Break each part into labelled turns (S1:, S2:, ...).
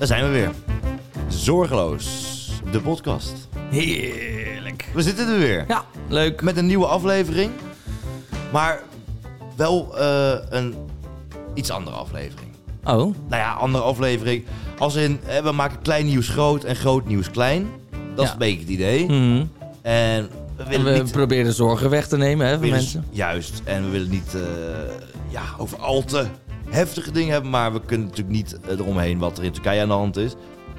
S1: zijn we weer. Zorgeloos, de podcast.
S2: Heerlijk.
S1: We zitten er weer.
S2: Ja, leuk.
S1: Met een nieuwe aflevering. Maar wel eh, een iets andere aflevering.
S2: Oh,
S1: Nou ja, andere aflevering. Als in, eh, we maken klein nieuws groot en groot nieuws klein. Dat is
S2: Ja.
S1: een beetje het idee.
S2: mhm.
S1: En we Hmm. willen
S2: we
S1: niet...
S2: proberen zorgen weg te nemen hè,
S1: we
S2: van
S1: willen-
S2: mensen.
S1: Juist. En we willen niet eh, ja, over al te heftige dingen hebben. Maar we kunnen natuurlijk niet eh, eromheen wat er in Turkije aan de hand is.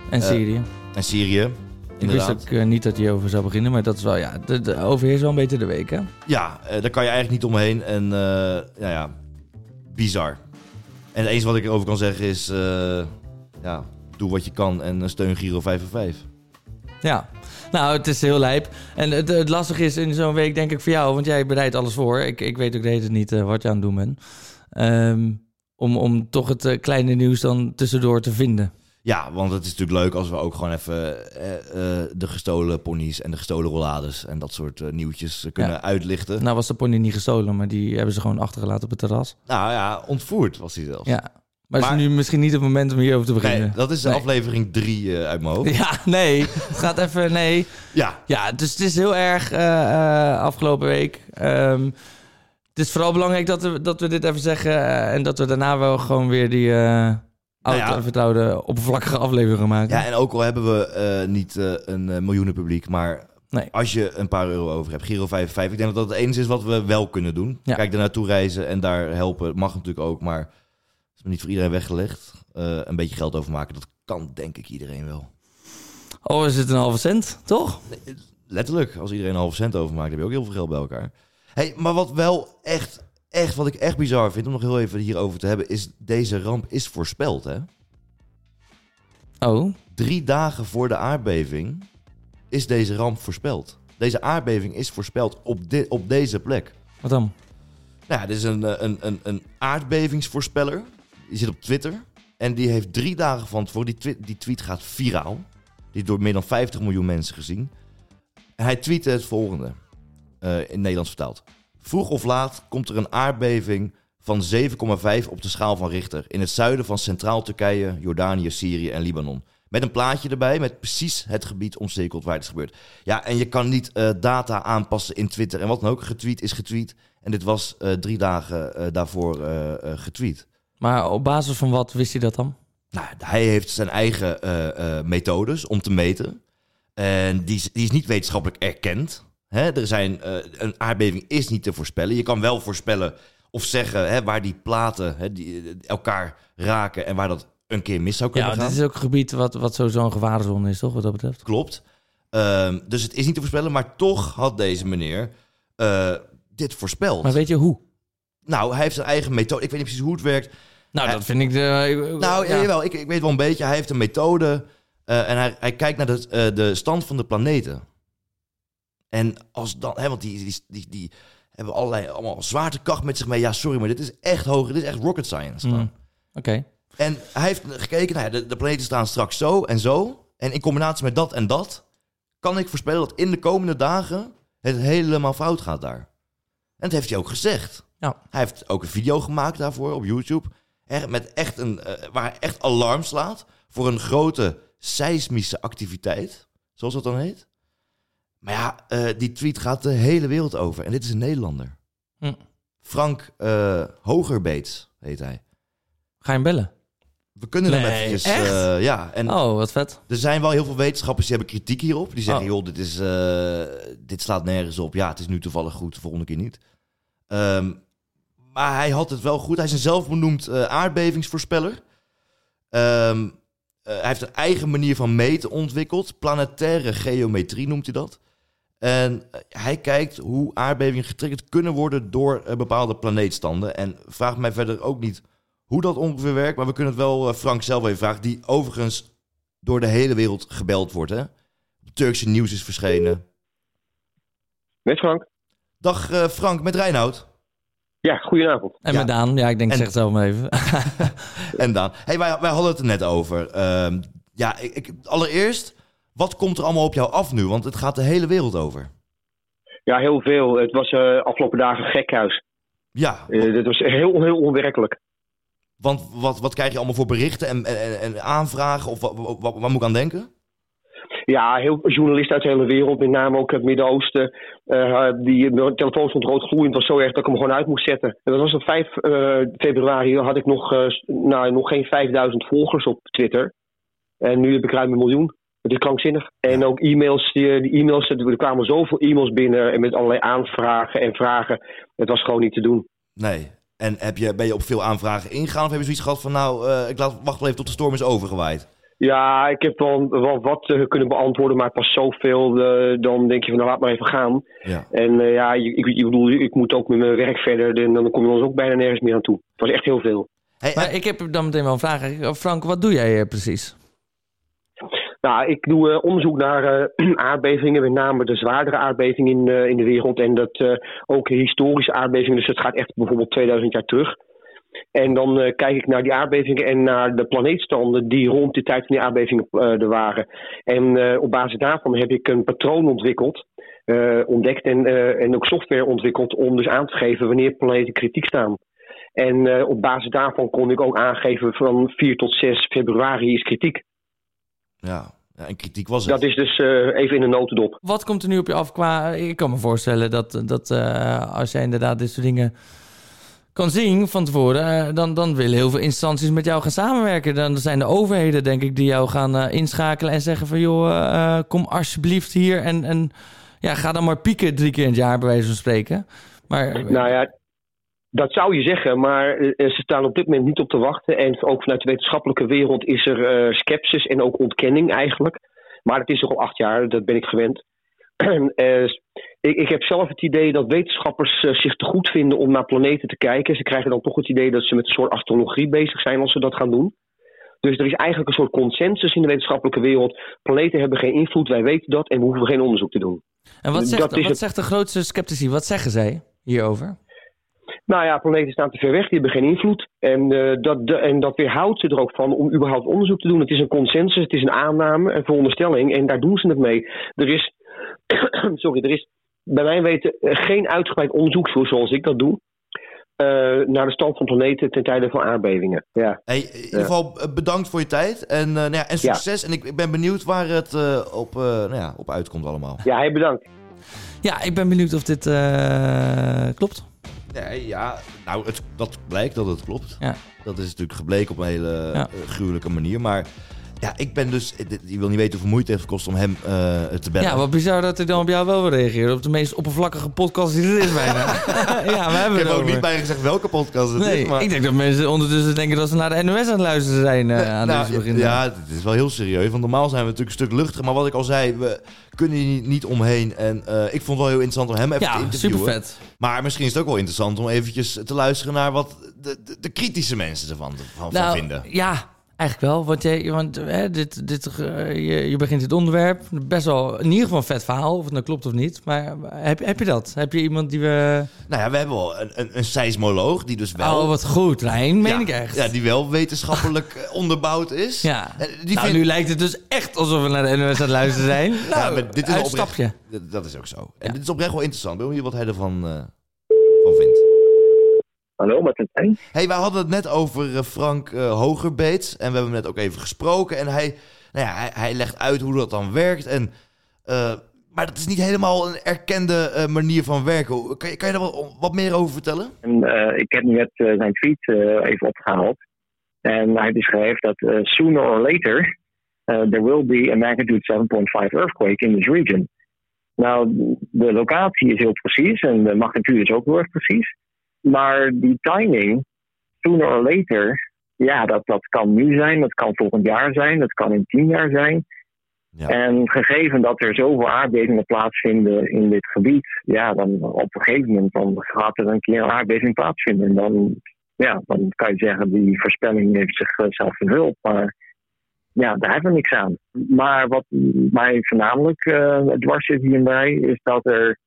S2: En
S1: eh,
S2: Syrië.
S1: En Syrië.
S2: ik wist
S1: Inderdaad.
S2: ook eh, niet dat je over zou beginnen, maar dat is wel, ja, de, de overheerst wel een beetje de week, hè?
S1: Ja, eh, daar kan je eigenlijk niet omheen. En eh, nou ja, bizar. En het enige wat ik erover kan zeggen is... eh, ja, doe wat je kan en eh, steun Giro 5 en 5.
S2: Ja. Nou, het is heel lijp. En het, het lastige is in zo'n week, denk ik, voor jou, want jij bereidt alles voor. Ik, ik weet ook de hele tijd niet eh, wat je aan het doen bent. Ehm, om, om toch het eh, kleine nieuws dan tussendoor te vinden.
S1: Ja, want het is natuurlijk leuk als we ook gewoon even eh, eh, de gestolen ponies en de gestolen rollades en dat soort eh, nieuwtjes eh, kunnen
S2: Ja.
S1: uitlichten.
S2: Nou was de pony niet gestolen, maar die hebben ze gewoon achtergelaten op het terras.
S1: Nou ja, ontvoerd was hij zelfs.
S2: Ja. Maar,
S1: Maar-
S2: het is nu misschien niet het moment om hierover te beginnen.
S1: Nee, dat is
S2: Nee.
S1: aflevering 3 uit mijn hoofd.
S2: Ja, nee. Het gaat even, nee.
S1: Ja,
S2: Ja, dus het is heel erg eh, eh, afgelopen week. Ehm, het is vooral belangrijk dat we, dat we dit even zeggen. eh, en dat we daarna wel gewoon weer die eh
S1: Nou
S2: oude
S1: ja.
S2: en vertrouwde oppervlakkige aflevering gaan maken.
S1: ja en ook al hebben we eh, niet eh, een eh, miljoenen publiek, maar
S2: Nee.
S1: als je een paar euro over hebt, Giro 55, ik denk dat dat het enige is wat we wel kunnen doen.
S2: Ja.
S1: Kijk, daar naartoe reizen en daar helpen mag natuurlijk ook, maar het is niet voor iedereen weggelegd. Eh, een beetje geld overmaken, dat kan denk ik iedereen wel.
S2: Oh, is het een halve cent, toch?
S1: Letterlijk, als iedereen een halve cent overmaakt, heb je ook heel veel geld bij elkaar. Hey, maar wat wel echt, echt, wat ik echt bizar vind om nog heel even hierover te hebben, is deze ramp is voorspeld. Hè?
S2: Oh,
S1: Drie dagen voor de aardbeving is deze ramp voorspeld. Deze aardbeving is voorspeld op, dit op deze plek.
S2: wat dan?
S1: Nou, ja, dit is een, eh, een, een, een aardbevingsvoorspeller. Die zit op Twitter. En die heeft drie dagen van tevoren. Die, twi- die tweet gaat viraal. Die is door meer dan 50 miljoen mensen gezien. En hij tweette het volgende. eh, in Nederlands vertaald. Vroeg of laat komt er een aardbeving van 7,5 op de schaal van Richter. In het zuiden van Centraal Turkije, Jordanië, Syrië en Libanon. Met een plaatje erbij met precies het gebied omcirkeld waar het is gebeurd. Ja, en je kan niet eh, data aanpassen in Twitter. En wat dan ook getweet is getweet. En dit was eh, drie dagen eh, daarvoor eh, eh, getweet.
S2: Maar op basis van wat wist hij dat dan?
S1: Nou, hij heeft zijn eigen eh, eh, methodes om te meten. En die is, die is niet wetenschappelijk erkend. Hè, er zijn, eh, een aardbeving is niet te voorspellen. Je kan wel voorspellen of zeggen hè, waar die platen hè, die, eh, elkaar raken en waar dat een keer mis zou kunnen
S2: Ja,
S1: gaan.
S2: dit is ook een gebied wat, wat sowieso een gevaarzone is, toch? Wat dat betreft.
S1: Klopt. Ehm, dus het is niet te voorspellen, maar toch had deze meneer eh, dit voorspeld.
S2: Maar weet je hoe?
S1: Nou, hij heeft zijn eigen methode. Ik weet niet precies hoe het werkt.
S2: Nou,
S1: Ja.
S2: dat vind ik de...
S1: Nou,
S2: ja.
S1: jawel, ik, ik weet wel een beetje. Hij heeft een methode eh, en hij, hij kijkt naar de, eh, de stand van de planeten. En als dan, hè, want die, die, die, die hebben allerlei allemaal zwaartekracht met zich mee. Ja, sorry, maar dit is echt hoger. Dit is echt rocket science.
S2: Mm.
S1: gewoon.
S2: Oké.
S1: En hij heeft gekeken, nou ja, de, de planeten staan straks zo en zo. En in combinatie met dat en dat kan ik voorspellen dat in de komende dagen het helemaal fout gaat daar. En dat heeft hij ook gezegd.
S2: Ja.
S1: Hij heeft ook een video gemaakt daarvoor op YouTube. Er- met echt een, eh, waar hij echt alarm slaat voor een grote seismische activiteit. Zoals dat dan heet. Maar ja, eh, die tweet gaat de hele wereld over. En dit is een Nederlander.
S2: Hm.
S1: Frank eh, Hogerbeets heet hij.
S2: Ga je hem bellen?
S1: We kunnen hem
S2: Nee,
S1: eventjes...
S2: echt?
S1: eh, ja, en
S2: Oh, wat vet.
S1: er zijn wel heel veel wetenschappers die hebben kritiek hierop. Die zeggen,
S2: Oh.
S1: joh, dit, is, eh, dit slaat nergens op. Ja, het is nu toevallig goed, de volgende keer niet. Ehm, maar hij had het wel goed. Hij is een zelfbenoemd eh, aardbevingsvoorspeller. Ehm, eh, hij heeft een eigen manier van meten ontwikkeld. Planetaire geometrie noemt hij dat. En eh, hij kijkt hoe aardbevingen getriggerd kunnen worden door eh, bepaalde planeetstanden. En vraagt mij verder ook niet hoe dat ongeveer werkt. Maar we kunnen het wel eh, Frank zelf even vragen. Die overigens door de hele wereld gebeld wordt. Hè? Turkse nieuws is verschenen.
S3: Met Frank?
S1: Dag eh, Frank, met Reinoud
S3: Ja, goedenavond.
S2: En
S1: Ja.
S2: met Daan? Ja, ik denk,
S1: En-
S2: zeg het zelf maar even.
S1: en Daan. Hey, wij, wij hadden het er net over. Ehm, ja, ik, ik- allereerst, wat komt er allemaal op jou af nu? Want het gaat de hele wereld over.
S3: Ja, heel veel. Het was eh afgelopen dagen gekhuis.
S1: Ja,
S3: Eh dit was heel, heel onwerkelijk.
S1: Want wat, wat krijg je allemaal voor berichten en, en, en aanvragen? Of wat, wat, wat- waar moet ik aan denken?
S3: Ja, heel, journalisten uit de hele wereld, met name ook uit het Midden-Oosten. eh, die, mijn telefoon stond rood gloeiend, was zo erg dat ik hem gewoon uit moest zetten. En dat was op 5 eh, februari, had ik nog, eh, s- nou, nog geen 5000 volgers op Twitter. En nu heb ik ruim een miljoen. Het is krankzinnig. En ook e-mails, die, die e-mails, er kwamen zoveel e-mails binnen en met allerlei aanvragen en vragen. Het was gewoon niet te doen.
S1: Nee. En heb je, ben je op veel aanvragen ingegaan? Of heb je zoiets gehad van, nou, eh, ik laat, wacht wel even tot de storm is overgewaaid?
S3: Ja, ik heb wel, wel wat eh, kunnen beantwoorden, maar pas zoveel. eh, dan denk je van, nou, laat maar even gaan.
S1: Ja.
S3: En eh, ja, ik, ik, ik bedoel, ik moet ook met mijn werk verder. En dan kom je ons ook bijna nergens meer aan toe. Het was echt heel veel.
S1: Hey,
S2: Maar ik heb dan meteen wel een vraag. eigenlijk. Frank, wat doe jij eh, precies?
S3: Nou, ik doe eh, onderzoek naar eh, aardbevingen, met name de zwaardere aardbevingen in, eh, in de wereld. En dat eh, ook historische aardbevingen, dus dat gaat echt bijvoorbeeld 2000 jaar terug. En dan eh, kijk ik naar die aardbevingen en naar de planeetstanden die rond de tijd van die aardbevingen eh, er waren. En eh, op basis daarvan heb ik een patroon ontwikkeld, eh, ontdekt en, eh, en ook software ontwikkeld om dus aan te geven wanneer planeten kritiek staan. En eh, op basis daarvan kon ik ook aangeven van 4 tot 6 februari is kritiek.
S1: ja. ja, en kritiek was het.
S3: Dat is dus eh, even in de notendop.
S2: Wat komt er nu op je af qua... eh, Ik kan me voorstellen dat, dat eh, als jij inderdaad dit soort dingen kan zien van tevoren... eh, dan, dan willen heel veel instanties met jou gaan samenwerken. Dan zijn de overheden, denk ik, die jou gaan eh, inschakelen en zeggen van... joh, eh, eh, kom alsjeblieft hier en, en ja, ga dan maar pieken drie keer in het jaar, bij wijze van spreken. Maar eh,
S3: Nou ja, dat zou je zeggen, maar eh, ze staan op dit moment niet op te wachten. En ook vanuit de wetenschappelijke wereld is er eh sceptisch en ook ontkenning eigenlijk. Maar het is toch al acht jaar, dat ben ik gewend. Eh, ik, ik heb zelf het idee dat wetenschappers eh, zich te goed vinden om naar planeten te kijken. Ze krijgen dan toch het idee dat ze met een soort astrologie bezig zijn als ze dat gaan doen. Dus er is eigenlijk een soort consensus in de wetenschappelijke wereld. Planeten hebben geen invloed, wij weten dat en we hoeven geen onderzoek te doen.
S2: en wat
S3: dat
S2: zegt,
S3: is
S2: wat
S3: het.
S2: zegt de grootste sceptici? Wat zeggen zij hierover?
S3: Nou ja, planeten staan te ver weg, die hebben geen invloed. En, eh, dat, de- en dat weerhoudt ze er ook van om überhaupt onderzoek te doen. Het is een consensus, het is een aanname, een veronderstelling en daar doen ze het mee. Er is, sorry, er is bij mijn weten eh, geen uitgebreid onderzoek voor zoals ik dat doe. eh, naar de stand van planeten ten tijde van aardbevingen. Ja.
S1: Hey, in ieder geval eh, bedankt voor je tijd en, eh, nou ja, en
S3: Ja.
S1: succes. En ik, ik ben benieuwd waar het eh, op, eh, nou ja, op uitkomt allemaal.
S3: ja, heel bedankt.
S2: Ja, ik ben benieuwd of dit eh, klopt.
S1: Nee, ja, nou, het, dat blijkt dat het klopt.
S2: Ja.
S1: Dat is natuurlijk gebleken op een hele
S2: Ja.
S1: eh, gruwelijke manier. Maar ja, ik ben dus... dit- Je wil niet weten hoeveel moeite het heeft gekost om hem eh, te bellen.
S2: Ja, wat bizar dat hij dan op jou wel wil reageren. Op de meest oppervlakkige podcast die er is bijna. ja, we
S1: ik
S2: hebben
S1: heb
S2: het
S1: ook
S2: over.
S1: niet bij gezegd welke podcast het
S2: Nee,
S1: is. Maar,
S2: ik denk dat mensen ondertussen denken dat ze naar de NOS aan het luisteren zijn eh, aan
S1: Nou,
S2: deze begin.
S1: ja, het is wel heel serieus. Want normaal zijn we natuurlijk een stuk luchtiger. Maar wat ik al zei, we kunnen hier niet omheen. En eh, ik vond het wel heel interessant om hem even te
S2: ja
S1: interviewen.
S2: super vet.
S1: Maar misschien is het ook wel interessant om eventjes te luisteren naar wat de, de, de kritische mensen ervan van,
S2: Nou,
S1: van vinden.
S2: Ja, eigenlijk wel. Want, jij, want hè, dit, dit, eh, je, je begint dit onderwerp. Best wel in ieder geval een vet verhaal. Of het nou klopt of niet. Maar eh, heb, heb je dat? Heb je iemand die we...
S1: Nou ja, we hebben wel een, een, een seismoloog die dus wel...
S2: Oh, wat goed, Rijn. Meen
S1: ja,
S2: ik echt.
S1: Ja, die wel wetenschappelijk eh, onderbouwd is.
S2: Ja.
S1: En die
S2: nou,
S1: vindt-
S2: nu lijkt het dus echt alsof we naar de NOS aan het luisteren zijn. Nou,
S1: Ja, maar dit is wel oprecht-
S2: uitstapje.
S1: Dat- Dat is ook zo. En dit is oprecht wel interessant. Ik ben benieuwd wat hij ervan eh, van vindt.
S3: Hallo, Martijn.
S1: hey, wij hadden het net over eh, Frank eh, Hogerbeet. En we hebben hem net ook even gesproken. En hij, nou ja, hij, hij legt uit hoe dat dan werkt. En, eh, maar dat is niet helemaal een erkende eh, manier van werken. Hoe- Kan je, kan je daar wat, wat meer over vertellen?
S4: En eh, ik heb nu net eh, zijn tweet eh, even opgehaald. En hij beschrijft dat eh, sooner or later eh, there will be a magnitude 7.5 earthquake in this region. Nou, de locatie is heel precies en de magnitude is ook heel erg precies. Maar die timing, sooner or later, ja, dat, dat kan nu zijn, dat kan volgend jaar zijn, dat kan in tien jaar zijn.
S1: Ja.
S4: En gegeven dat er zoveel aardbevingen plaatsvinden in dit gebied, ja, dan op een gegeven moment dan gaat er een keer een aardbeving plaatsvinden. En dan, ja, dan kan je zeggen, die voorspelling heeft zichzelf vervuld. Maar ja, daar hebben we niks aan. Maar wat mij voornamelijk eh, dwars zit hierbij, is dat er,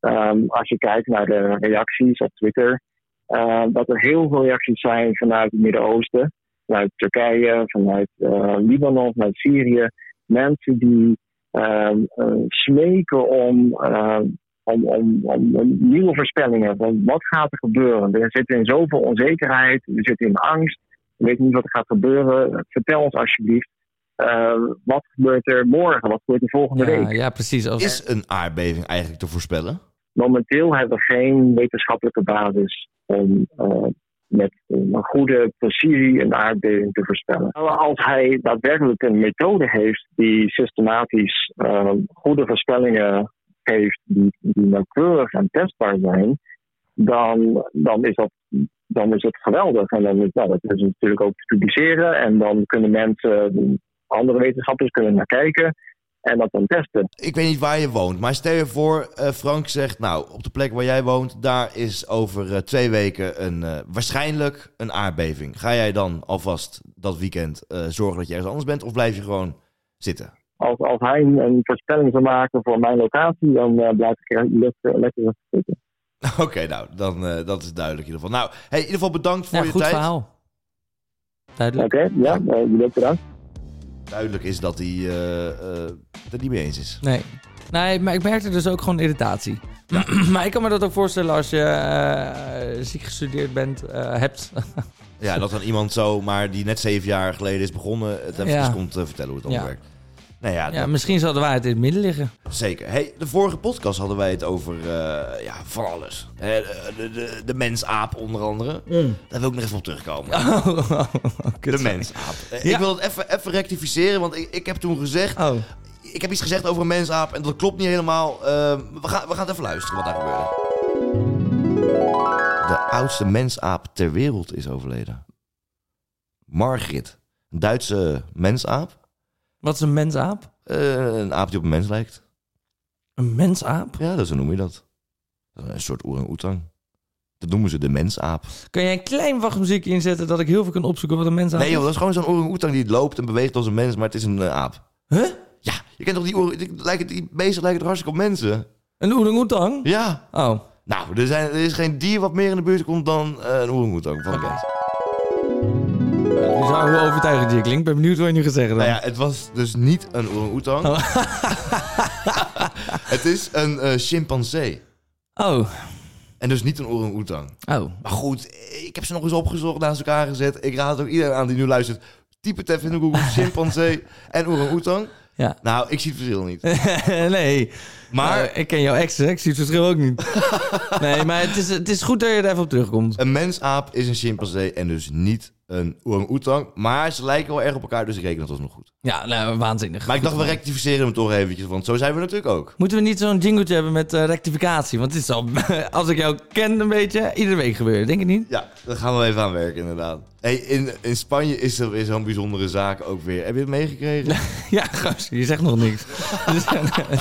S4: ehm, als je kijkt naar de reacties op Twitter, eh, dat er heel veel reacties zijn vanuit het Midden-Oosten, vanuit Turkije, vanuit eh, Libanon, vanuit Syrië. Mensen die ehm, eh, smeken om, ehm, om, om, om, om nieuwe voorspellingen. Van wat gaat er gebeuren? Er zit in zoveel onzekerheid, er zit in angst. We weten niet wat er gaat gebeuren. Vertel ons alsjeblieft. eh, wat gebeurt er morgen? Wat gebeurt er volgende
S2: Ja,
S4: week?
S2: ja, precies. Als,
S1: Is een aardbeving eigenlijk te voorspellen?
S4: Momenteel hebben we geen wetenschappelijke basis om eh, met een goede precisie een aardbeving te voorspellen. Nou, Als hij daadwerkelijk een methode heeft die systematisch eh, goede voorspellingen geeft, die, die nauwkeurig en testbaar zijn, dan, dan, is dat, dan is dat geweldig. En dan is nou, dat is natuurlijk ook te publiceren en dan kunnen mensen, andere wetenschappers kunnen naar kijken en dat dan testen.
S1: Ik weet niet waar je woont, maar stel je voor, eh, Frank zegt, nou, op de plek waar jij woont, daar is over eh, twee weken een, eh, waarschijnlijk een aardbeving. Ga jij dan alvast dat weekend eh, zorgen dat je ergens anders bent of blijf je gewoon zitten?
S4: als, als hij een, een voorspelling zou maken voor mijn locatie, dan eh, blijf ik er lekker, lekker zitten.
S1: Oké, nou, dan, eh, dat is duidelijk in ieder geval. Nou, hey, in ieder geval bedankt voor
S2: ja,
S1: je
S2: goed
S1: tijd.
S2: verhaal.
S4: Oké,
S2: Duidelijk.
S4: ja, eh, jullie ook bedankt.
S1: Duidelijk is dat hij eh, eh, het er niet mee eens is.
S2: Nee. Nee, maar ik merkte dus ook gewoon irritatie. maar ik kan me dat ook voorstellen als je eh, ziek gestudeerd bent, eh, hebt.
S1: Ja, dat dan iemand zo, maar die net zeven jaar geleden is begonnen, het even
S2: Ja.
S1: komt eh, vertellen hoe het allemaal
S2: Ja.
S1: werkt. Nou ja,
S2: ja, misschien zal de waarheid in het midden liggen.
S1: Zeker. Hey, de vorige podcast hadden wij het over eh, ja, van alles. Hè, de, de, de mensaap onder andere.
S2: Mm.
S1: Daar wil ik nog even op terugkomen.
S2: Oh,
S1: de mensaap. Eh,
S2: Ja.
S1: Ik wil het even, even rectificeren, want ik, ik heb toen gezegd...
S2: oh.
S1: Ik heb iets gezegd over een mensaap en dat klopt niet helemaal. Ehm, we, gaan, we gaan even luisteren wat daar gebeurde. De oudste mensaap ter wereld is overleden. Margrit. Een Duitse mensaap.
S2: Wat is een mensaap?
S1: Eh, een aap die op een mens lijkt.
S2: Een mensaap?
S1: Ja, dat zo noem je dat. Een soort orang-oetang. Dat noemen ze de mensaap.
S2: Kun jij een klein wachtmuziekje inzetten dat ik heel veel kan opzoeken wat een mensaap
S1: Nee
S2: is?
S1: joh, dat is gewoon zo'n orang-oetang die loopt en beweegt als een mens, maar het is een eh, aap.
S2: Huh?
S1: Ja, je kent toch die, orang- die, lijken, die beesten lijken toch hartstikke op mensen?
S2: Een oerang-oetang?
S1: Ja.
S2: Oh.
S1: Nou, er, zijn, er is geen dier wat meer in de buurt komt dan eh, een orang-oetang van een mens.
S2: Bizar hoe overtuigend je klinkt. Ik ben benieuwd wat je nu gaat zeggen dan.
S1: Nou ja, het was dus niet een orang-oetang. het is een eh, chimpansee.
S2: Oh.
S1: En dus niet een orang-oetang.
S2: Oh.
S1: Maar goed, ik heb ze nog eens opgezocht, naast elkaar gezet. Ik raad ook iedereen aan die nu luistert. Typ het even in de Google, chimpansee en orang-oetang.
S2: Ja.
S1: Nou, ik zie het verschil niet.
S2: nee. Maar
S1: Maar
S2: Nou, ik ken jouw ex, hè? ik zie het verschil ook niet. nee, maar het is, het is goed dat je er even op terugkomt.
S1: een mensaap is een chimpansee en dus niet een orang-oetang. Maar ze lijken wel erg op elkaar, dus ik reken dat alsnog goed.
S2: Ja, nou, waanzinnig.
S1: Maar ik dacht, we rectificeren hem toch eventjes, want zo zijn we natuurlijk ook.
S2: Moeten we niet zo'n jingletje hebben met eh, rectificatie? Want dit is al, als ik jou ken een beetje, iedere week gebeuren. Denk je niet?
S1: Ja, daar gaan we wel even aan werken, inderdaad. Hey, in, in Spanje is er weer zo'n bijzondere zaak ook weer. Heb je het meegekregen?
S2: Ja, gast, je zegt nog niks. Dus,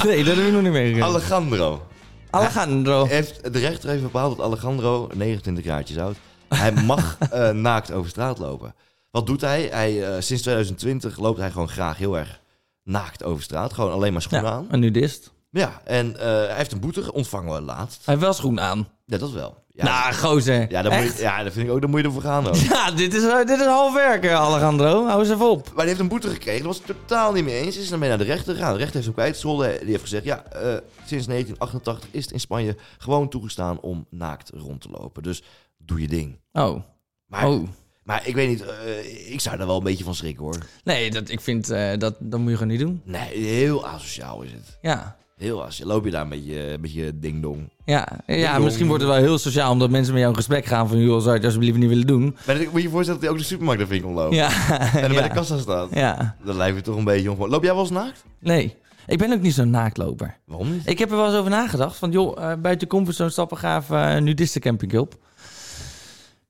S2: nee, dat heb ik nog niet meegekregen.
S1: Alejandro.
S2: Alejandro.
S1: heeft, de rechter heeft bepaald dat Alejandro, 29 jaartjes oud, hij mag eh, naakt over straat lopen. Wat doet hij? hij eh, sinds 2020 loopt hij gewoon graag heel erg naakt over straat. Gewoon alleen maar schoenen
S2: Ja,
S1: aan.
S2: een nudist.
S1: Ja, en eh, hij heeft een boete ontvangen laatst.
S2: Hij heeft wel schoen aan.
S1: Ja, dat wel. Ja,
S2: Nou, gozer.
S1: ja,
S2: Ja,
S1: daar moet je-
S2: Echt?
S1: ja, dat vind ik ook, daar moet je ervoor gaan ook.
S2: Ja, dit is, eh, dit is half werken, Alejandro. Hou eens even op.
S1: Maar hij heeft een boete gekregen, dat was het totaal niet mee eens. Is daarmee naar de rechter gegaan. De rechter heeft hem kwijtgescholden. Die heeft gezegd, ja, eh, sinds 1988 is het in Spanje gewoon toegestaan om naakt rond te lopen. Dus doe je ding.
S2: Oh,
S1: Maar
S2: oh.
S1: Maar ik weet niet, eh, ik zou daar wel een beetje van schrikken hoor.
S2: Nee, dat, ik vind, eh, dat, dat moet je gewoon niet doen.
S1: Nee, heel asociaal is het.
S2: Ja.
S1: Heel asociaal. Loop je daar met je, met je ding-dong.
S2: Ja, ja
S1: jong.
S2: misschien wordt het wel heel sociaal omdat mensen met jou in gesprek gaan van... joh, zou je het alsjeblieft niet willen doen?
S1: Maar dan moet je je voorstellen dat hij ook de supermarkt er vindt omloopt.
S2: Ja.
S1: Oh. En dan
S2: ja.
S1: bij de kassa staat.
S2: Ja,
S1: Dat lijkt me toch een beetje ongewoon. Loop jij wel eens naakt?
S2: nee. Ik ben ook niet zo'n naaktloper.
S1: Waarom niet?
S2: Ik heb er wel eens over nagedacht van... joh, eh, buiten de comfortzone stappen gaaf eh nudistencamping op.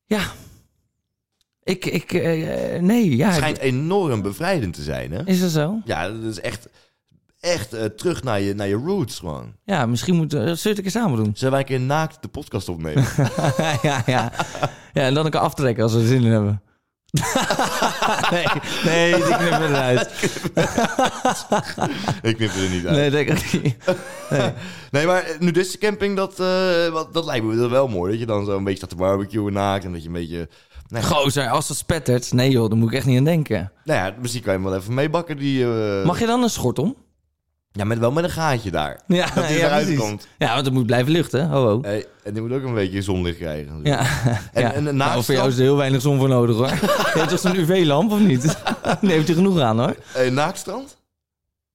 S2: Ja. Ik, ik, eh, eh, nee, ja.
S1: Het schijnt enorm bevrijdend te zijn hè?
S2: Is dat zo?
S1: Ja, dat is echt, echt eh, terug naar je, naar je roots gewoon.
S2: Ja, misschien moeten we... Zullen we het een keer samen doen?
S1: Zullen wij een keer naakt de podcast opnemen?
S2: ja, ja. ja, en dan een keer aftrekken als we er zin in hebben. nee, nee, die knippen we eruit.
S1: ik knip er niet uit. Nee,
S2: Nee, denk ik niet.
S1: maar eh, nudistencamping, dat, eh, wat, dat lijkt me wel mooi. Dat je dan zo een beetje staat te barbecuen naakt. En dat je een beetje... Nee,
S2: Gozer, als dat spettert. Nee joh, daar moet ik echt niet aan denken.
S1: Nou ja, misschien kan je hem wel even meebakken. Die, eh,
S2: Mag je dan een schort om?
S1: Ja, met, wel met een gaatje daar.
S2: Ja,
S1: Dat die
S2: ja,
S1: eruit
S2: precies.
S1: komt.
S2: Ja, want het moet blijven luchten. Ho, ho.
S1: Hey, Eh, en die moet ook een beetje zonlicht krijgen. natuurlijk.
S2: Ja,
S1: En-
S2: ja.
S1: en de
S2: Nou,
S1: naaktstraf-
S2: voor jou is er heel weinig zon voor nodig hoor. Je hebt toch zo'n UV-lamp of niet? Daar heeft hij genoeg aan hoor.
S1: Eh, naaktstrand?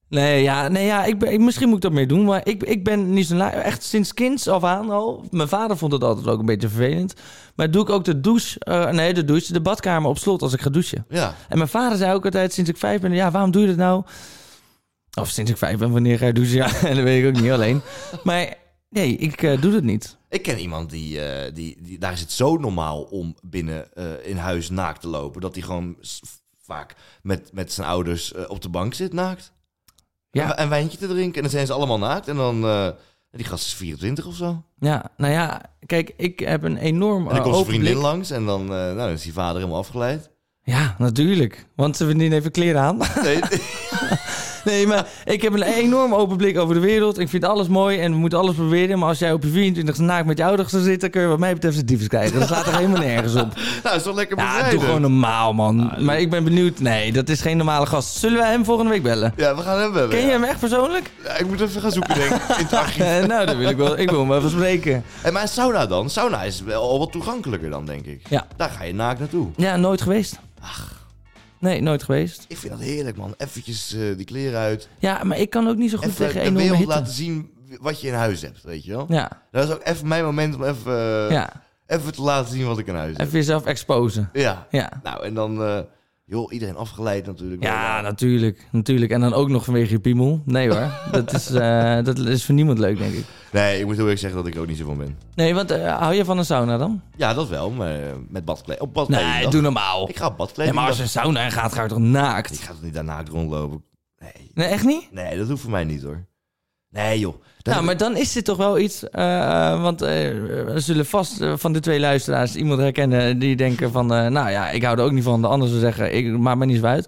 S2: Nee, ja, nee, ja ik ben, ik- misschien moet ik dat meer doen. Maar ik, ik ben niet zo la- Echt sinds kinds af aan al. Mijn vader vond het altijd ook een beetje vervelend. Maar doe ik ook de douche... eh, nee, de douche, de badkamer op slot als ik ga douchen.
S1: Ja.
S2: En mijn vader zei ook altijd sinds ik vijf ben... Ja, waarom doe je dat nou? Of sinds ik vijf ben, wanneer ga je douchen? Ja, en dat weet ik ook niet alleen. Maar nee, ik eh, doe dat niet.
S1: Ik ken iemand die, eh, die, die... Daar is het zo normaal om binnen eh, in huis naakt te lopen... dat hij gewoon s- vaak met, met zijn ouders eh, op de bank zit naakt.
S2: Ja.
S1: En, en wijntje te drinken. En dan zijn ze allemaal naakt. En dan... eh, die gast is 24 of zo. En
S2: Ja, nou ja, kijk, ik heb een enorm
S1: dan
S2: eh,
S1: komt zijn
S2: overblik.
S1: vriendin langs. En dan, eh, nou, dan is die vader helemaal afgeleid.
S2: Ja, natuurlijk. Want ze verdienen even kleren aan.
S1: Nee,
S2: Nee, maar ik heb een enorm open blik over de wereld. Ik vind alles mooi en we moeten alles proberen. Maar als jij op je 24 naakt met je ouders zou zitten... kun je wat mij betreft de diefs krijgen. Dat slaat er helemaal nergens op.
S1: nou, is toch lekker
S2: Ja,
S1: bevrijdend.
S2: doe gewoon normaal, man. Maar ik ben benieuwd. Nee, dat is geen normale gast. Zullen wij hem volgende week bellen?
S1: Ja, we gaan hem bellen.
S2: Ken je
S1: ja.
S2: hem echt persoonlijk?
S1: Ja, ik moet even gaan zoeken, denk ik. In het archief.
S2: Eh, nou, dat wil ik wel. Ik wil hem even spreken.
S1: En maar sauna dan? Sauna is wel al wat toegankelijker dan, denk ik.
S2: Ja.
S1: Daar ga je naakt naartoe.
S2: Ja, nooit geweest. Nee, nooit geweest.
S1: Ik vind dat heerlijk, man. Eventjes eh, die kleren uit.
S2: Ja, maar ik kan ook niet zo goed
S1: Even
S2: tegen
S1: de
S2: enorme
S1: wereld
S2: hitte.
S1: laten zien wat je in huis hebt, weet je wel?
S2: Ja,
S1: Dat is ook even mijn moment om even, eh,
S2: ja.
S1: even te laten zien wat ik in huis
S2: Even jezelf exposen.
S1: heb. Ja.
S2: Ja.
S1: Nou, en dan... eh, joh, iedereen afgeleid natuurlijk.
S2: Ja,
S1: Maar,
S2: natuurlijk, natuurlijk. En dan ook nog vanwege je piemel. Nee hoor, dat is, eh, dat is voor niemand leuk, denk ik.
S1: Nee, ik moet heel eerlijk zeggen dat ik ook niet zo van ben.
S2: Nee, want eh, hou je van een sauna dan?
S1: Ja, dat wel, maar eh, met badkleed. Op badkleed.
S2: Nee, doe normaal.
S1: Ik ga op badkleed.
S2: Nee, maar als je een sauna in gaat, ga je toch naakt?
S1: Ik ga toch niet daar naakt rondlopen? Nee.
S2: Nee, echt niet?
S1: Nee, dat hoeft voor mij niet hoor. Nee joh. Dat
S2: Nou, maar dan is dit toch wel iets, eh, eh, want eh, er zullen vast eh, van de twee luisteraars iemand herkennen die denken van, eh, nou ja, ik hou er ook niet van. De ander zou zeggen, ik maak me niet zo uit.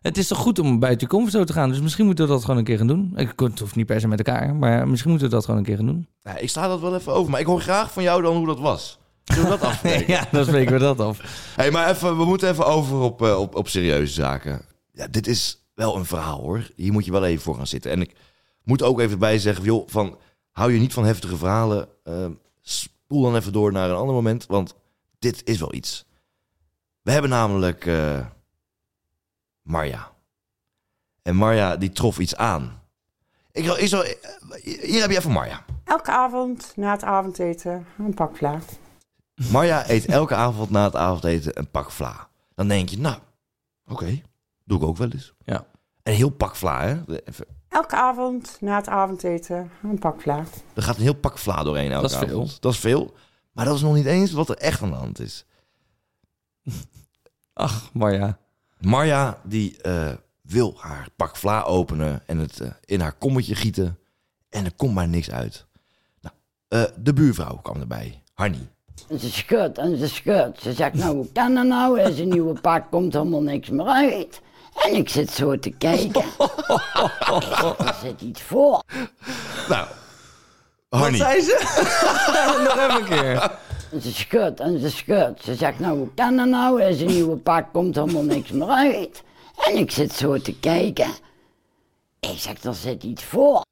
S2: Het is toch goed om buiten je comfortzone te gaan, dus misschien moeten we dat gewoon een keer gaan doen. Ik- Het hoeft niet per se met elkaar, maar misschien moeten we dat gewoon een keer gaan doen.
S1: Nou, ik sta dat wel even over, maar ik hoor graag van jou dan hoe dat was. Zullen we dat afspreken?
S2: Ja, dan spreken we dat af.
S1: hey, maar even, we moeten even over op, eh, op, op serieuze zaken. Ja, dit is wel een verhaal hoor. Hier moet je wel even voor gaan zitten. En ik moet ook even bij zeggen, joh, van, hou je niet van heftige verhalen. eh, spoel dan even door naar een ander moment, want dit is wel iets. We hebben namelijk eh, Marja. En Marja die trof iets aan. Ik, ik zal, hier heb je even Marja.
S5: Elke avond na het avondeten een pak vla.
S1: Marja eet elke avond na het avondeten een pak vla. Dan denk je, nou, oké, doe ik ook wel eens.
S2: Ja.
S1: Een heel pak vla, hè? Even-
S5: Elke avond na het avondeten een pak vla.
S1: Er gaat een heel pak vla doorheen elke
S2: Dat is veel.
S1: avond. Dat is veel. Maar dat is nog niet eens wat er echt aan de hand is.
S2: Ach, maar ja.
S1: Marja, die eh, wil haar pak vla openen en het eh, in haar kommetje gieten. En er komt maar niks uit. Nou, eh, de buurvrouw kwam erbij, Hanny.
S6: En ze schudt en ze schudt. Ze zegt, nou, hoe kan dat nou? Er is een nieuwe pak, komt helemaal niks meer uit. En ik zit zo te kijken. Ik zeg, er zit iets voor.
S1: Nou, Hanny.
S2: zei ze? Nog even een keer.
S6: En ze schudt en ze schudt. Ze zegt, nou, hoe kan dat nou? Er is een nieuwe pak, komt helemaal niks meer uit. En ik zit zo te kijken. Ik zeg, er zit iets voor.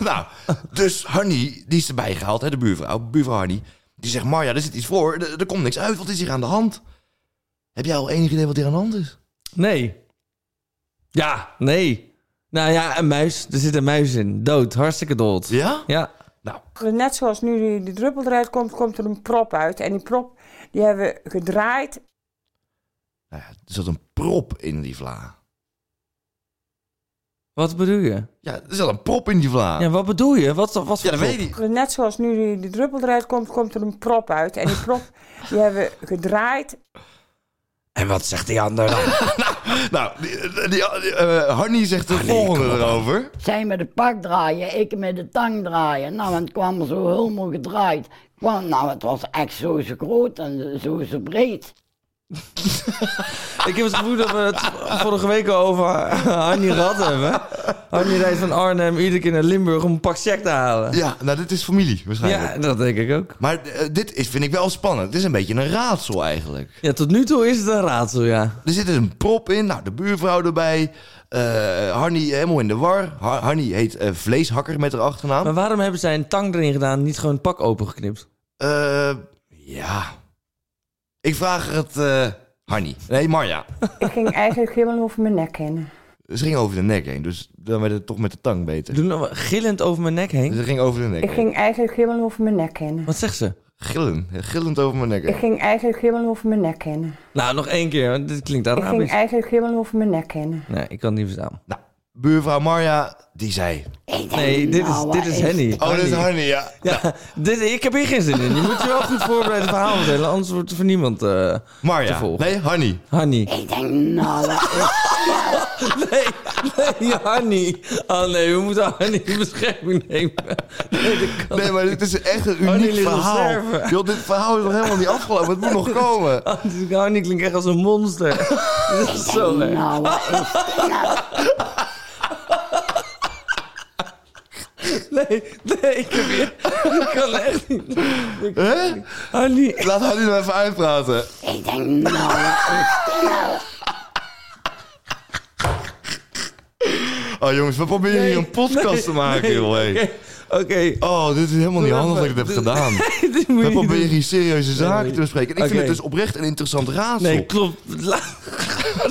S1: Nou, dus Hanny, die is erbij gehaald, hè, de buurvrouw, buurvrouw Hanny. Die zegt, Marja, er zit iets voor, er, er komt niks uit, wat is hier aan de hand? Heb jij al enig idee wat hier aan de hand is?
S2: Nee. Ja, nee. Nou ja, een muis. Er zit een muis in. Dood. Hartstikke dood.
S1: Ja?
S2: Ja.
S1: Nou,
S5: Net zoals nu die, die druppel eruit komt, komt er een prop uit. En die prop die hebben we gedraaid.
S1: nou ja, er zat een prop in die vla.
S2: Wat bedoel je?
S1: Ja, er zat een prop in die vla.
S2: Ja, wat bedoel je? Wat,
S1: Ah.
S2: wat
S1: Ja,
S2: voor
S1: dat
S2: prop?
S1: weet ik.
S5: Net zoals nu die, die druppel eruit komt, komt er een prop uit. En die prop die hebben we gedraaid.
S2: En wat zegt die ander dan?
S1: Nou, die, die- die- eh, Hanny zegt het volgende erover.
S6: Zij met de pak draaien, ik met de tang draaien. Nou, en het kwam er zo helemaal gedraaid. Kwam, nou, het was echt zo, zo groot en zo, zo breed.
S2: Ik heb het gevoel dat we het vorige week al over Hanni gehad hebben. Hanni rijdt van Arnhem iedere keer naar Limburg om een pak check te halen.
S1: Ja, nou, dit is familie waarschijnlijk.
S2: Ja, dat denk ik ook.
S1: Maar eh, dit is, vind ik wel spannend. Het is een beetje een raadsel eigenlijk.
S2: Ja, tot nu toe is het een raadsel, ja.
S1: Er zit dus een prop in, nou, de buurvrouw erbij. eh Harnie helemaal in de war. Har Harnie heet eh, Vleeshakker met haar achternaam.
S2: Maar waarom hebben zij een tang erin gedaan en niet gewoon het pak opengeknipt?
S1: Eh, ja. Ik vraag het eh Harnie. Nee, Marja.
S5: Ik ging eigenlijk helemaal over mijn nek heen.
S1: Ze ging over de nek heen, dus dan werd het toch met de tang beter.
S2: Doe nou gillend over mijn nek
S1: Dus
S2: heen.
S1: ze ging over de nek
S5: Ik
S1: heen.
S5: ging eigenlijk helemaal over mijn nek heen.
S2: Wat zegt ze?
S1: Gillen, gillend over mijn nek
S5: Ik
S1: heen.
S5: ging eigenlijk helemaal over mijn nek heen.
S2: Nou, nog één keer, want dit klinkt
S5: Ik ging
S2: Arabisch.
S5: eigenlijk helemaal over mijn nek heen.
S2: Nee, ik kan het niet verstaan.
S1: Nou, buurvrouw Marja, die zei...
S6: Ik denk,
S2: Nee, dit is,
S6: nou,
S2: dit is
S6: eh,
S2: Henny.
S1: Oh, dit is Harnie, ja.
S2: Ja, dit, ik heb hier geen zin in. Je moet je wel goed voorbereiden verhaal vertellen, anders wordt het voor niemand eh te
S1: Marja.
S2: volgen.
S1: Nee, Harnie.
S2: Hanni.
S6: Ik denk, nou, wat is-
S2: Nee, nee, Hanni. Oh nee, we moeten Hanni in bescherming nemen. Nee, dat kan
S1: Nee, maar dit is echt een uniek
S2: Harnie ligt te
S1: verhaal.
S2: sterven.
S1: Joh, dit verhaal is nog helemaal niet afgelopen. Het moet nog komen.
S2: dus niet. Hanni klinkt echt als een monster. Dat is zo erg.
S6: nou, wat is dit nou?
S2: Nee, nee, ik heb hier... Ik kan echt niet.
S1: Hè?
S2: Hanni.
S1: Laat Harnie nou even uitpraten.
S6: Ik denk, nou, wat is dit nou?
S1: Oh jongens, we proberen hier een podcast te maken,
S2: nee,
S1: joh. hé.
S2: Oké, oké.
S1: Oh, dit is helemaal niet
S2: Doe
S1: handig dat ik
S2: even-
S1: dit heb
S2: doe-
S1: gedaan.
S2: Dit moet
S1: We
S2: je niet
S1: proberen
S2: doen.
S1: hier serieuze zaken
S2: nee.
S1: te bespreken. En ik vind
S2: Oké.
S1: het dus oprecht een interessant raadsel.
S2: Nee, klopt. La-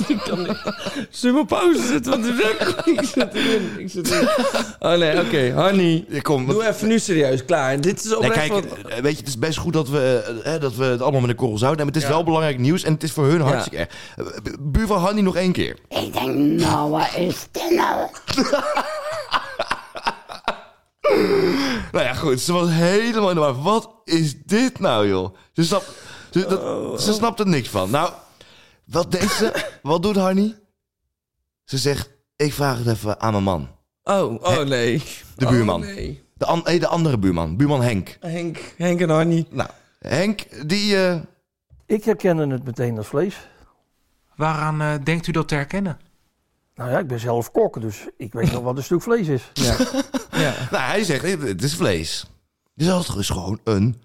S2: ik kan niet. Zullen we op pauze zetten? Want er is- ik zit erin. Ik zit erin. Oh nee, oké. Hanni.
S1: Ja, kom, wat-
S2: Doe even nu serieus. Klaar. Dit is
S1: Nee,
S2: oprecht
S1: kijk,
S2: wat...
S1: eh, weet je, het is best goed dat we, eh, hè, dat we het allemaal met een korrel zout nemen. Het is wel belangrijk nieuws en het is voor hun hartstikke erg. Eh, bu- Buurvrouw Hanni nog één keer.
S6: Ik denk, nou, wat is dit nou?
S1: Nou ja, goed, ze was helemaal in de war. Wat is dit nou, joh? Ze, snap, ze, dat, ze snapt er niks van. Nou, wat denkt ze? Wat doet Hanni? Ze zegt, ik vraag het even aan mijn man.
S2: Oh, oh nee.
S1: De buurman.
S2: Oh, nee.
S1: De, an- eh, de andere buurman, buurman Henk.
S2: Henk, Henk en Hanni.
S1: Nou, Henk, die... eh,
S7: Ik herkende het meteen als vlees.
S8: Waaraan eh, denkt u dat te herkennen?
S7: Nou ja, ik ben zelf kok, dus ik weet nog wat een stuk vlees is.
S1: Nou, hij zegt, het- het is vlees. Dus dat is gewoon een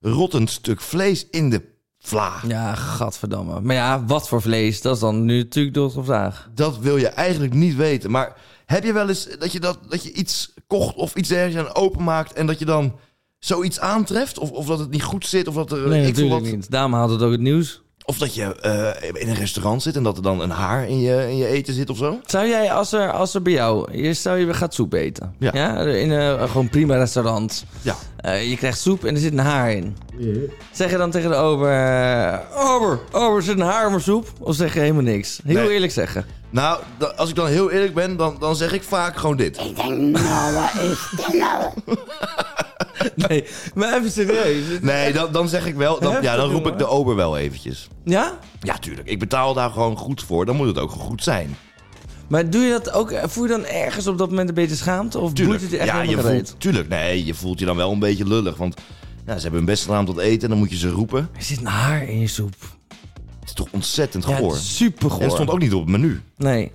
S1: rottend stuk vlees in de vla.
S2: Ja, gadverdamme. Maar ja, wat voor vlees? Dat is dan nu natuurlijk door de vraag.
S1: Dat wil je eigenlijk niet weten. Maar heb je wel eens dat je, dat, dat je iets kocht of iets ergens aan openmaakt... en dat je dan zoiets aantreft? Of, of dat het niet goed zit? Of dat, er,
S2: Nee,
S1: ik voel
S2: natuurlijk
S1: dat-
S2: niet. Daarom haalt het ook het nieuws.
S1: of dat je eh, in een restaurant zit en dat er dan een haar in je, in je eten zit of zo?
S2: Zou jij, als er, als er bij jou... Eerst zou je gaat soep eten.
S1: Ja.
S2: in een gewoon prima restaurant.
S1: Ja.
S2: Eh, je krijgt soep en er zit een haar in. Zeg je dan tegen de ober... eh, Ober, ober, zit een haar in mijn soep? Of zeg je helemaal niks? Heel
S1: Nee.
S2: eerlijk zeggen.
S1: Nou, da- als ik dan heel eerlijk ben, dan, dan zeg ik vaak gewoon dit.
S6: Ik denk, nou, wat is dit nou?
S2: Nee, maar even serieus.
S1: Nee, dan, dan zeg ik wel... Dan, ja, dan roep ik de ober wel eventjes.
S2: Ja?
S1: Ja, tuurlijk. Ik betaal daar gewoon goed voor. Dan moet het ook goed zijn.
S2: Maar doe je dat ook... Voel je dan ergens op dat moment een beetje schaamte? Of doet
S1: Tuurlijk.
S2: het je echt
S1: ja, je
S2: helemaal gereed?
S1: voelt, tuurlijk. Nee, je voelt je dan wel een beetje lullig. Want ja, ze hebben hun best gedaan om tot eten en dan moet je ze roepen.
S2: Er zit een haar in je soep.
S1: Het is toch ontzettend
S2: Ja,
S1: goor.
S2: super
S1: En het stond ook niet op het menu.
S2: Nee.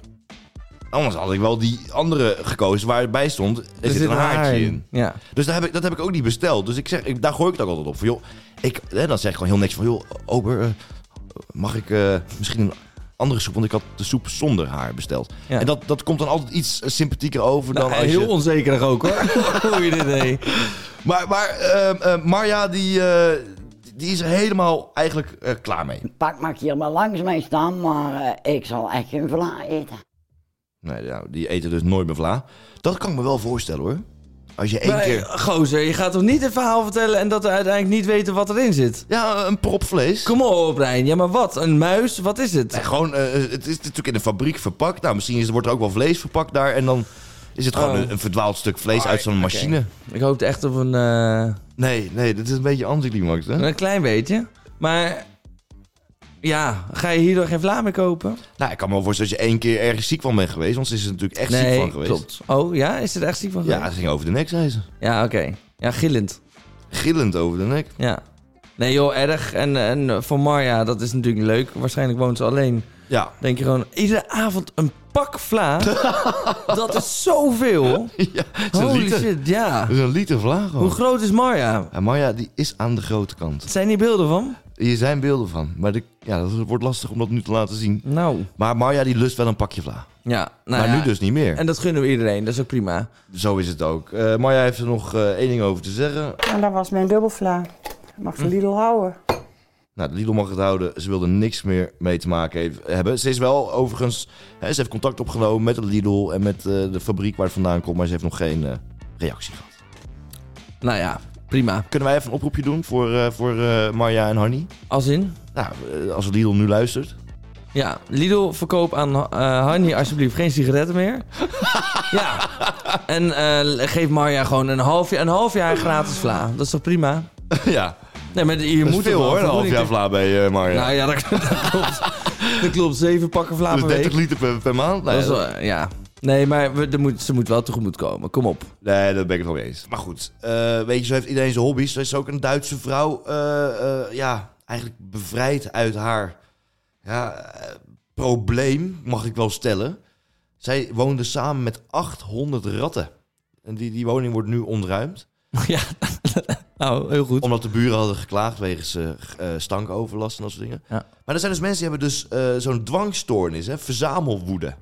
S1: Anders had ik wel die andere gekozen waarbij stond. Er, zit, een haartje in.
S2: Ja.
S1: Dus daar heb ik, dat heb ik ook niet besteld. Dus ik zeg, ik, daar gooi ik het ook altijd op. Van, joh, ik, hè, dan zeg ik gewoon heel niks van, joh, ober, eh, mag ik eh, misschien een andere soep? Want ik had de soep zonder haar besteld.
S2: Ja.
S1: En dat, dat komt dan altijd iets eh, sympathieker over
S2: Nou,
S1: dan als
S2: heel
S1: je...
S2: onzekerig ook hoor. Hoe je dit deed.
S1: Maar, maar ehm, eh, Marja, die, eh, die is er helemaal eigenlijk eh, klaar mee.
S6: Pak mag hier maar langs mij staan, maar eh, ik zal echt geen vla eten.
S1: Nee, nou, die eten dus nooit meer vla. Dat kan ik me wel voorstellen hoor. Als je één
S2: Maar,
S1: keer...
S2: eh, Gozer, je gaat toch niet een verhaal vertellen en dat we uiteindelijk niet weten wat erin zit?
S1: Ja, een prop vlees.
S2: Kom op, Rijn. Ja, maar wat? Een muis? Wat is het?
S1: Nee, gewoon, eh, het is natuurlijk in een fabriek verpakt. Nou, misschien is, wordt er ook wel vlees verpakt daar. En dan is het gewoon
S2: Oh.
S1: een, een verdwaald stuk vlees uit zo'n machine.
S2: Ik hoopte echt op een, eh,
S1: Nee, nee, dit is een beetje anticlimax hè.
S2: een klein beetje. Maar ja, ga je hierdoor geen vla meer kopen?
S1: Nou, ik kan me wel voorstellen dat je één keer ergens ziek van bent geweest. Want ze is er natuurlijk echt ziek van geweest.
S2: klopt. Oh ja, is het echt ziek van
S1: Ja,
S2: geweest?
S1: ze ging over de nek, zei ze.
S2: Ja, oké. Ja, gillend.
S1: Gillend over de nek.
S2: Ja. Nee joh, erg. En, en voor Marja, dat is natuurlijk niet leuk. Waarschijnlijk woont ze alleen.
S1: Ja.
S2: Denk je gewoon, iedere avond een pak vla. dat is zoveel.
S1: ja het is een
S2: Holy
S1: liter.
S2: shit, ja.
S1: Het is een liter vlaag
S2: Hoe
S1: gewoon.
S2: groot is Marja?
S1: Ja, Marja, die is aan de grote kant.
S2: Zijn hier beelden van?
S1: Hier zijn beelden van. Maar de, ja, dat wordt lastig om dat nu te laten zien.
S2: Nou.
S1: Maar Marja die lust wel een pakje vla.
S2: Ja, nou
S1: maar
S2: ja.
S1: nu dus niet meer.
S2: En dat gunnen we iedereen, dat is ook prima.
S1: Zo is het ook. Eh, Marja heeft er nog eh, één ding over te zeggen.
S5: En dat was mijn dubbelvla. Mag ze Lidl houden.
S1: Nou, de Lidl mag het houden. Ze wilde niks meer mee te maken heeft- hebben. Ze is wel overigens... Hè, ze heeft contact opgenomen met de Lidl en met eh, de fabriek waar het vandaan komt. Maar ze heeft nog geen eh, reactie gehad.
S2: Nou ja, prima.
S1: Kunnen wij even een oproepje doen voor, eh, voor eh, Marja en Hanny?
S2: Als in?
S1: Nou, eh, als Lidl nu luistert.
S2: Ja, Lidl verkoop aan eh Hanny alsjeblieft geen sigaretten meer. ja. En eh, geef Marja gewoon een half, jaar, een half jaar gratis vla. Dat is toch prima?
S1: ja,
S2: Nee, maar je
S1: dat is
S2: moet
S1: veel
S2: toch wel
S1: hoor. Een half
S2: vergoeding
S1: jaar
S2: tegen-
S1: vla bij eh, Marja.
S2: Nou ja, dat, dat klopt. Dat klopt, zeven pakken vla
S1: dus
S2: per week.
S1: 30 liter per, per maand? Nee,
S2: Dat is wel- eh, ja. Nee, maar we, er moet, ze moet wel tegemoet komen. Kom op.
S1: Nee, daar ben ik het wel mee eens. Maar goed, eh, weet je, zo heeft iedereen zijn hobby's. Er is ook een Duitse vrouw, eh, eh, ja, eigenlijk bevrijd uit haar ja, eh, probleem, mag ik wel stellen. Zij woonde samen met 800 ratten. En die, die woning wordt nu ontruimd.
S2: ja, nou, heel goed.
S1: Omdat de buren hadden geklaagd wegens eh, g- eh, stankoverlast en dat soort dingen.
S2: Ja.
S1: Maar er zijn dus mensen die hebben dus eh, zo'n dwangstoornis, hè? verzamelwoede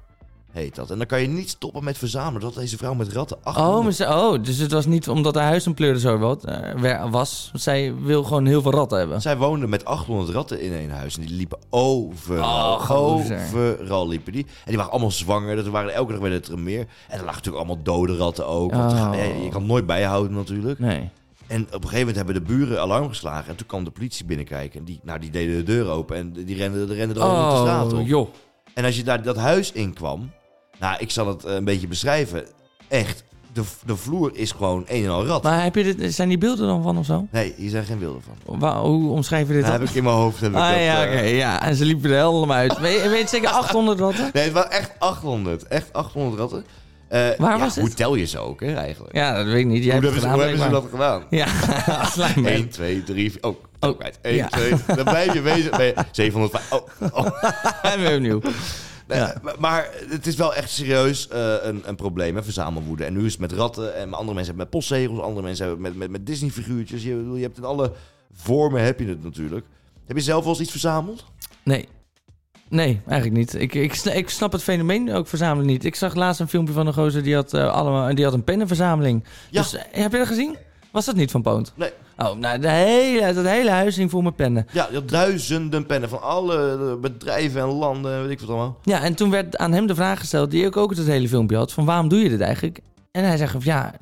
S1: heet dat. En dan kan je niet stoppen met verzamelen. Dat had deze vrouw met ratten 800
S2: Oh, maar ze- oh, dus het was niet omdat haar huis een pleur zo wat, eh, wer- was. Zij wil gewoon heel veel ratten hebben.
S1: Zij woonden met 800 ratten in één huis. En die liepen overal.
S2: Och, Oh, gozer.
S1: overal liepen die. En die waren allemaal zwanger. Dat waren, elke dag werden het er meer. En er lagen natuurlijk allemaal dode ratten ook. Want
S2: Oh.
S1: ja, je kan het nooit bijhouden natuurlijk.
S2: Nee.
S1: En op een gegeven moment hebben de buren alarm geslagen. En toen kwam de politie binnenkijken. En die, nou, die deden de deur open. En die renden, renden er allemaal de straat op.
S2: Oh, joh.
S1: En als je daar dat huis in kwam. Nou, ik zal het eh, een beetje beschrijven. Echt, de, de vloer is gewoon een en al rat.
S2: Maar heb je dit, zijn die beelden dan van of zo?
S1: Nee, hier zijn geen wilden van.
S2: Wa- hoe omschrijven je dit
S1: Dat
S2: dan?
S1: heb ik in mijn hoofd. Heb ik dat,
S2: ah ja,
S1: eh,
S2: oké, ja. En ze liepen er helemaal uit. Weet je weet je zeker 800 ratten?
S1: Nee, het waren echt 800. Echt 800 ratten. Eh,
S2: Waar
S1: ja,
S2: was
S1: hoe
S2: het?
S1: tel je ze ook, hè, eigenlijk?
S2: Ja, dat weet ik niet. Jij
S1: hoe
S2: hebt
S1: hebben
S2: het
S1: ze, hoe
S2: gedaan,
S1: hebben ze dat
S2: blijkbaar.
S1: gedaan?
S2: Ja, slijm
S1: 1, 2, 3, 4. Oh,
S2: Oh,
S1: ook uit. 1,
S2: ja.
S1: 2. Dan blijf je bezig. Nee, 705. Oh, oh.
S2: En weer opnieuw.
S1: Nee,
S2: Ja.
S1: Eh, maar- Maar het is wel echt serieus eh, een, een probleem, hè, verzamelwoede. En nu is het met ratten. En andere mensen hebben het met postzegels. Andere mensen hebben het met, met, met Disney-figuurtjes. Je, bedoel, je hebt in alle vormen heb je het natuurlijk. Heb je zelf wel eens iets verzameld?
S2: Nee. Nee, eigenlijk niet. Ik, ik, sna- ik snap het fenomeen ook verzamelen niet. Ik zag laatst een filmpje van een gozer die had, eh, allemaal, die had een pennenverzameling.
S1: Ja.
S2: Dus, eh, heb je dat gezien? Was dat niet van Poont?
S1: Nee.
S2: Oh, nou, de hele, dat hele huis hing vol met pennen.
S1: Ja, je had duizenden pennen van alle eh, bedrijven en landen. en Weet ik wat allemaal.
S2: Ja, en toen werd aan hem de vraag gesteld, die ik ook uit het hele filmpje had, van waarom doe je dit eigenlijk? En hij zegt van ja,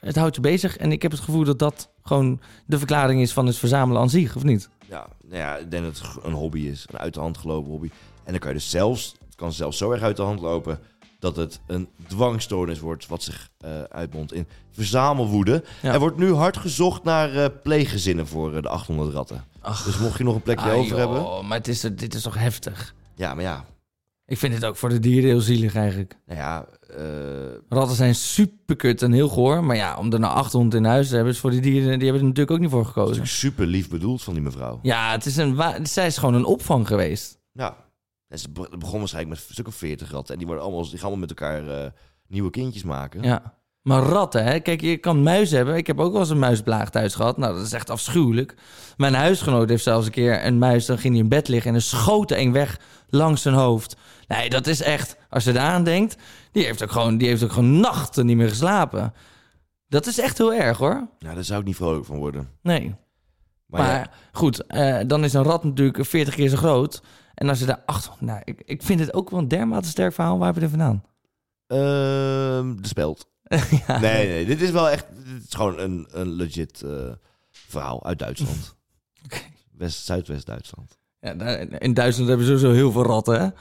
S2: het houdt je bezig en ik heb het gevoel dat dat gewoon de verklaring is van het verzamelen aan zich, of niet?
S1: Ja, nou ja, ik denk dat het een hobby is. Een uit de hand gelopen hobby. En dan kan je dus zelfs, het kan zelfs zo erg uit de hand lopen dat het een dwangstoornis wordt, wat zich eh uitmondt in verzamelwoede.
S2: Ja.
S1: Er wordt nu hard gezocht naar eh, pleeggezinnen voor eh, de 800 ratten.
S2: Ach. oh,
S1: Dus mocht je nog een plekje
S2: Ah,
S1: over hebben...
S2: maar het is, dit is toch heftig?
S1: Ja, maar ja,
S2: Ik vind het ook voor de dieren heel zielig eigenlijk.
S1: nou ja... eh,
S2: Ratten zijn super kut en heel goor, maar ja, om er nou 800 in huis te hebben, is voor die dieren, die hebben er natuurlijk ook niet voor
S1: dat is
S2: gekozen.
S1: natuurlijk super lief bedoeld van die mevrouw.
S2: Ja, het is een, wa- zij is gewoon een opvang geweest.
S1: Ja. En ze be- begon waarschijnlijk met een stuk of 40 ratten. En die, worden allemaal, die gaan allemaal met elkaar eh, nieuwe kindjes maken.
S2: Ja. Maar ratten, hè? Kijk, je kan muizen hebben. Ik heb ook wel eens een muisplaag thuis gehad. Nou, dat is echt afschuwelijk. Mijn huisgenoot heeft zelfs een keer een muis. Dan ging hij in bed liggen en er schoot er een weg langs zijn hoofd. Nee, dat is echt... Als je eraan denkt, die heeft ook gewoon, die heeft ook gewoon nachten niet meer geslapen. Dat is echt heel erg, hoor.
S1: Nou, daar zou ik niet vrolijk van worden.
S2: Nee.
S1: Maar,
S2: Maar,
S1: ja,
S2: goed, eh, dan is een rat natuurlijk 40 keer zo groot. En als je daar achter... Nou, ik, ik vind het ook wel een dermate sterk verhaal. Waar heb je er vandaan?
S1: ehm, de speld.
S2: ja.
S1: Nee, nee, dit is wel echt. Dit is gewoon een, een legit eh, verhaal uit Duitsland.
S2: Oké.
S1: West, Zuidwest-Duitsland.
S2: Ja, daar- in Duitsland hebben ze sowieso heel veel ratten,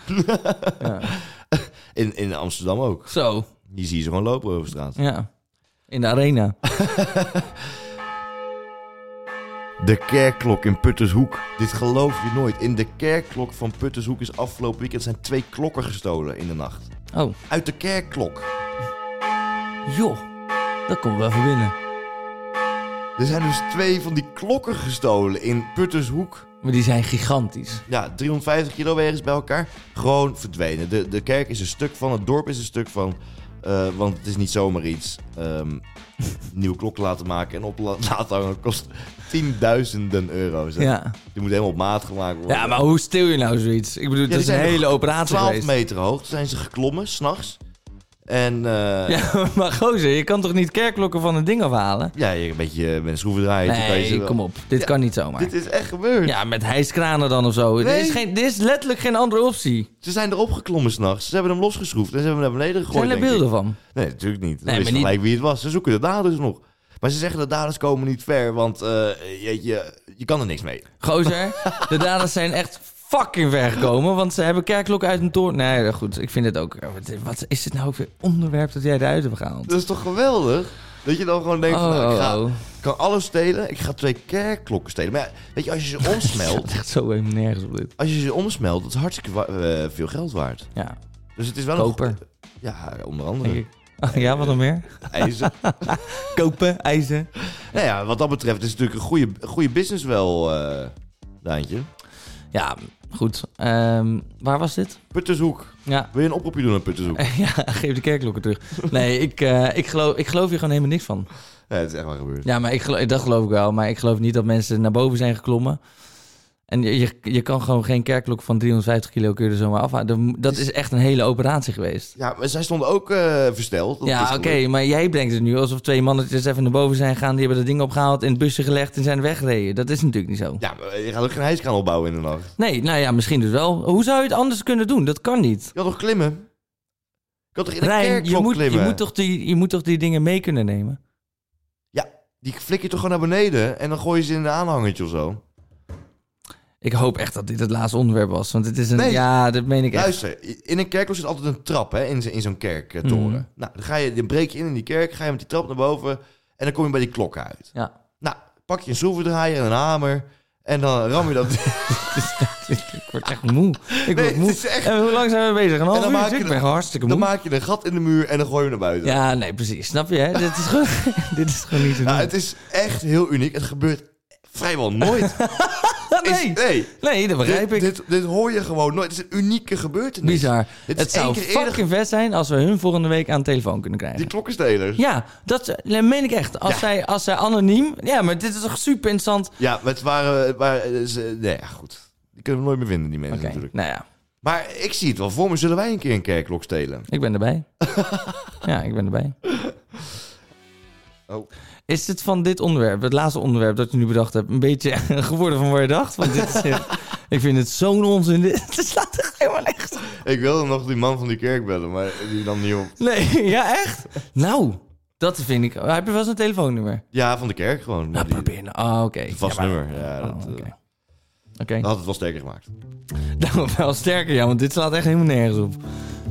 S2: hè?
S1: In, in Amsterdam ook.
S2: Zo,
S1: Hier zie je ze gewoon lopen over straat.
S2: ja. In de arena.
S1: De kerkklok in Puttershoek. Dit geloof je nooit. In de kerkklok van Puttershoek is afgelopen weekend zijn twee klokken gestolen in de nacht.
S2: Oh,
S1: Uit de kerkklok.
S2: joh. Dat komt wel even binnen.
S1: Er zijn dus twee van die klokken gestolen in Puttershoek.
S2: Maar die zijn gigantisch.
S1: Ja, 350 kilo wegens bij elkaar. Gewoon verdwenen. De, de kerk is een stuk van, het dorp is een stuk van. eh, want het is niet zomaar iets. ehm, nieuwe klok laten maken en op la- laten hangen kost tienduizenden euro's. hè.
S2: Ja.
S1: Die moet helemaal op maat gemaakt worden.
S2: ja, maar hoe stil je nou zoiets? Ik bedoel,
S1: Ja, die
S2: dat is een
S1: zijn
S2: hele
S1: nog
S2: operatie
S1: 12
S2: geweest.
S1: meter hoog zijn ze geklommen, s'nachts. En eh, ja.
S2: Ja, maar gozer, je kan toch niet kerkklokken van een ding afhalen?
S1: je een beetje eh, met een schroevendraaier. toen kan je ze
S2: Nee,
S1: wel-
S2: kom op. Dit
S1: Ja,
S2: kan niet zomaar.
S1: Dit is echt gebeurd.
S2: Ja, met hijskranen dan of zo. Er,
S1: Nee.
S2: is geen, er is letterlijk geen andere optie.
S1: Ze zijn erop geklommen s'nachts. Ze hebben hem losgeschroefd en ze hebben hem naar beneden gegooid.
S2: Zijn er
S1: denk ik.
S2: beelden van?
S1: Nee, natuurlijk niet. Dan
S2: Nee,
S1: wist
S2: maar
S1: je
S2: niet-
S1: gelijk wie het was. Ze zoeken de daders nog. Maar ze zeggen de daders komen niet ver, want eh, jeetje, je kan er niks mee.
S2: Gozer, de daders zijn echt fucking ver gekomen, want ze hebben kerkklokken uit een toren. Nee, goed, ik vind het ook... wat- Wat is dit nou ook weer onderwerp dat jij eruit hebt gehaald?
S1: Dat is toch geweldig? Dat je dan gewoon denkt, van, nou, ik, ga,
S2: oh, oh.
S1: ik kan alles stelen. Ik ga twee kerkklokken stelen. Maar ja, weet je, als je ze
S2: Het
S1: omsmelt,
S2: gaat echt zo helemaal nergens op dit.
S1: als je ze omsmelt, dat is hartstikke wa- eh, veel geld waard.
S2: Ja,
S1: Dus het is wel een...
S2: koper,
S1: goed- Ja, onder
S2: denk
S1: andere.
S2: ik. Ah, ja, wat nog meer?
S1: IJzer.
S2: Kopen, ijzer.
S1: nou ja, wat dat betreft is het natuurlijk een goede, goede business wel, eh Daantje.
S2: Ja, goed. Ehm, waar was dit?
S1: Puttershoek.
S2: Ja.
S1: Wil je een oproepje doen aan Puttershoek?
S2: ja, geef de kerkklokken terug. Nee, ik, eh, ik, geloof, ik geloof hier gewoon helemaal niks van.
S1: Ja, het is echt waar gebeurd.
S2: Ja, maar ik geloof, dat geloof ik wel. Maar ik geloof niet dat mensen naar boven zijn geklommen. En je, je, je kan gewoon geen kerkklok van 350 kilo kun je er zomaar afhalen. Dat- Dat is echt een hele operatie geweest.
S1: Ja, maar zij stonden ook eh, versteld. Dat is
S2: ja, oké,
S1: gelukt.
S2: maar jij denkt het nu alsof twee mannetjes even naar boven zijn gegaan. Die hebben dat ding opgehaald, in het busje gelegd en zijn weggereden. Dat is natuurlijk niet zo.
S1: Ja, maar je gaat ook geen hijskraan opbouwen in de nacht.
S2: Nee, nou ja, misschien dus wel. Hoe zou je het anders kunnen doen? Dat kan niet.
S1: Je had toch klimmen? Je had toch in de
S2: Rijn, je
S1: kerkklok
S2: moet, je,
S1: klimmen?
S2: moet toch die, je moet toch die dingen mee kunnen nemen?
S1: Ja, die flik je toch gewoon naar beneden en dan gooi je ze in een aanhangertje of zo.
S2: Ik hoop echt dat dit het laatste onderwerp was. Want het is een...
S1: Nee.
S2: Ja, dat meen ik echt.
S1: Luister, in een kerkklok zit altijd een trap hè, in zo'n in zo'n kerktoren.
S2: Mhm.
S1: Nou, dan, ga je, dan breek je in in die kerk, ga je met die trap naar boven en dan kom je bij die klok uit.
S2: Ja.
S1: Nou, pak je een schroevendraaier en een hamer en dan ram je dat...
S2: Oh, ik word echt moe.
S1: Nee,
S2: Ik word moe.
S1: het is echt-
S2: En hoe lang zijn we bezig? Een half
S1: dan
S2: uur?
S1: maak je
S2: ik
S1: de-
S2: ben gewoon hartstikke moe.
S1: dan maak je een gat in de muur en dan gooi je hem naar buiten.
S2: Ja, nee, precies. Snap je, hè? dit, is gewoon, dit is gewoon niet zo
S1: Nou, het is echt heel uniek. Het gebeurt vrijwel nooit.
S2: nee.
S1: Is- nee.
S2: nee, dat begrijp
S1: dit,
S2: ik.
S1: Dit, dit hoor je gewoon nooit. Het is een unieke gebeurtenis.
S2: Bizar.
S1: Dit is
S2: Het zou
S1: één keer eerder-
S2: fucking vet zijn als we hun volgende week aan de telefoon kunnen krijgen.
S1: Die klokkenstelers. Ja.
S2: Ja, dat nee, meen ik echt. Als,
S1: Ja.
S2: zij, als zij anoniem... Ja, maar dit is toch super interessant? Oké,
S1: maar het waren... het waren ze, nee, ja, goed. Die kunnen we nooit meer vinden, die mensen natuurlijk.
S2: nou ja.
S1: Maar ik zie het wel voor me. Zullen wij een keer een kerkklok stelen?
S2: Ik ben erbij. ja, ik ben erbij.
S1: Oh.
S2: Is het van dit onderwerp, het laatste onderwerp dat je nu bedacht hebt, een beetje geworden van waar je dacht? Want dit is echt- ik vind het zo'n onzin. Dit het slaat echt helemaal echt.
S1: Ik wilde nog die man van die kerk bellen, maar die nam niet op.
S2: Nee, ja, echt? Nou, dat vind ik. Heb je wel eens een telefoonnummer?
S1: Ja, van de kerk gewoon.
S2: Nou,
S1: Die-
S2: probeer. nou- Oh, oké.
S1: Een vast
S2: Ja, maar-
S1: nummer. Ja, dat,
S2: Oh,
S1: eh,
S2: Oké.
S1: dat
S2: Oké.
S1: had het wel sterker gemaakt.
S2: Nou, wel sterker, ja, want dit slaat echt helemaal nergens op.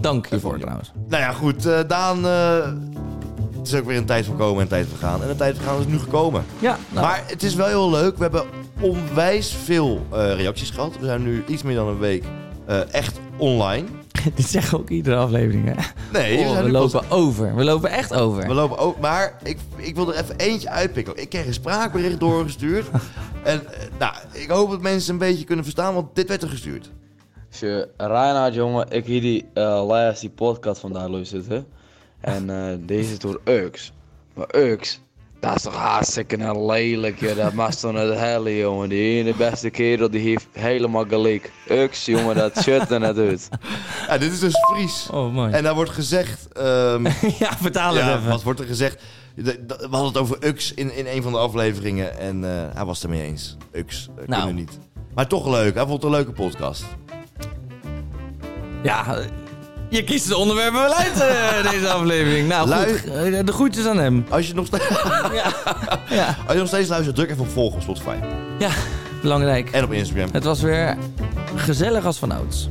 S2: Dank hiervoor
S1: ja.
S2: trouwens.
S1: Nou ja, goed. eh, Daan... eh, het is ook weer een tijd van komen en een tijd van gaan. En een tijd van gaan is nu gekomen.
S2: Ja, nou,
S1: Maar het is wel heel leuk. We hebben onwijs veel eh, reacties gehad. We zijn nu iets meer dan een week eh, echt online.
S2: dit zeggen we ook iedere aflevering, hè?
S1: Nee,
S2: Oh,
S1: zijn
S2: we
S1: nu pas-
S2: lopen over. We lopen echt over.
S1: we lopen ook. Maar ik, ik wil er even eentje uitpikken. Ik kreeg een spraakbericht doorgestuurd. en eh, nou, ik hoop dat mensen een beetje kunnen verstaan, want dit werd er gestuurd.
S9: Tje, Reinhard jongen, ik hier die eh laatst die podcast vandaag luisteren. En eh, deze is door Ux. Maar Ux, dat is toch hartstikke een lelijk, joh. dat mag toch naar de helle jongen. Die ene beste kerel die heeft helemaal gelijk. Ux jongen, dat shut er net uit.
S1: Ja, dit is dus Fries.
S2: Oh, mooi.
S1: En daar wordt gezegd. ehm,
S2: ja, vertaal het
S1: ja,
S2: even.
S1: wat wordt er gezegd? De- de- We hadden het over Ux in, in een van de afleveringen. En eh, hij was het ermee eens. Ux, eh,
S2: Nou.
S1: kunnen niet. Maar toch leuk. Hij vond het een leuke podcast.
S2: Ja, je kiest de onderwerpen wel uit eh, deze aflevering. Nou,
S1: Lui-
S2: goed. eh, De groetjes aan hem.
S1: Als je nog steeds,
S2: Ja,
S1: als je nog steeds luistert, druk even op volgen op Spotify.
S2: ja belangrijk.
S1: En op Instagram.
S2: Het was weer gezellig als vanouds.